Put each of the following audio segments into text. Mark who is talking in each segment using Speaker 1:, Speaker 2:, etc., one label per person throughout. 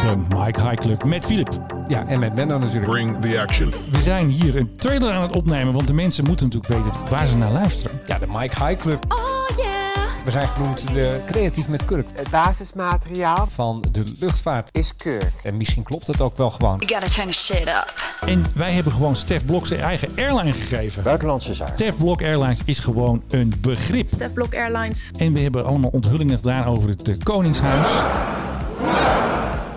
Speaker 1: De Mike High Club met Philip.
Speaker 2: Ja, en met Menno natuurlijk.
Speaker 3: Bring the action.
Speaker 1: We zijn hier een trailer aan het opnemen, want de mensen moeten natuurlijk weten waar ze naar luisteren.
Speaker 2: Ja, de Mike High Club.
Speaker 4: Oh yeah!
Speaker 2: We zijn genoemd de Creatief met Kurk
Speaker 5: Het basismateriaal
Speaker 2: van de luchtvaart.
Speaker 5: is kurk.
Speaker 2: En misschien klopt het ook wel gewoon.
Speaker 4: You gotta turn the shit up.
Speaker 1: En wij hebben gewoon Stef Blok zijn eigen airline gegeven.
Speaker 6: Buitenlandse zaken.
Speaker 1: Stef Blok Airlines is gewoon een begrip.
Speaker 7: Stef Blok Airlines.
Speaker 1: En we hebben allemaal onthullingen gedaan over het eh, Koningshuis.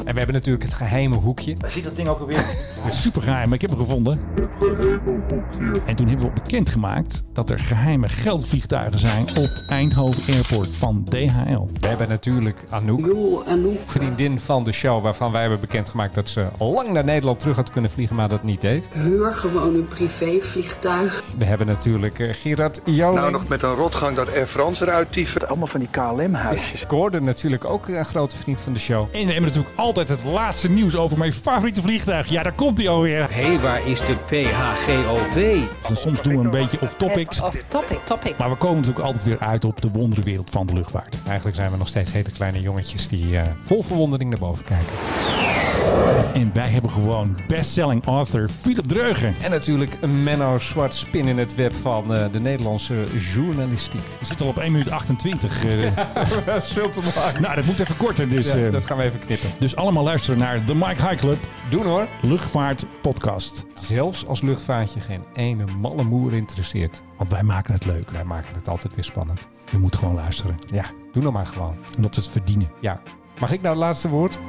Speaker 2: En we hebben natuurlijk het geheime hoekje.
Speaker 6: Ziet dat ding ook alweer?
Speaker 1: Super geheim, maar ik heb hem gevonden. En toen hebben we bekendgemaakt dat er geheime geldvliegtuigen zijn op Eindhoven Airport van DHL.
Speaker 2: We hebben natuurlijk Anouk. Vriendin van de show waarvan wij hebben bekendgemaakt dat ze al lang naar Nederland terug had kunnen vliegen, maar dat niet deed.
Speaker 8: Huur gewoon een privévliegtuig.
Speaker 2: We hebben natuurlijk eh, Gerard Joling.
Speaker 9: Nou, nog met een rotgang dat Air France eruit tyfen.
Speaker 6: Allemaal van die KLM-huisjes.
Speaker 2: Gordon natuurlijk ook een grote vriend van de show.
Speaker 1: En we hebben natuurlijk altijd het laatste nieuws over mijn favoriete vliegtuig. Ja, daar komt hij alweer.
Speaker 10: Hé, waar is de PHGOV?
Speaker 1: En Dus soms doen we een beetje off topics.
Speaker 7: Of topic. Topic.
Speaker 1: Maar we komen natuurlijk altijd weer uit op de wonderenwereld van de luchtvaart.
Speaker 2: Eigenlijk zijn we nog steeds hele kleine jongetjes die eh, vol verwondering naar boven kijken.
Speaker 1: En wij hebben gewoon bestselling author Philip Dreugen.
Speaker 2: En natuurlijk een Menno Zwart spin in het web van eh, de Nederlandse journalistiek.
Speaker 1: We zitten al op 1 minuut 28. eh.
Speaker 2: Dat is veel te lang.
Speaker 1: nou, dat moet even korter. Dus, eh,
Speaker 2: dat gaan we even knippen.
Speaker 1: dus allemaal luisteren naar de Mike High Club
Speaker 2: Doen hoor.
Speaker 1: Luchtvaart Podcast.
Speaker 2: Zelfs als luchtvaartje geen ene malle moer interesseert.
Speaker 1: Want wij maken het leuk.
Speaker 2: Wij maken het altijd weer spannend.
Speaker 1: Je moet gewoon luisteren.
Speaker 2: Ja, doe nou maar gewoon.
Speaker 1: Omdat we het verdienen.
Speaker 2: Ja. Mag ik nou het laatste woord?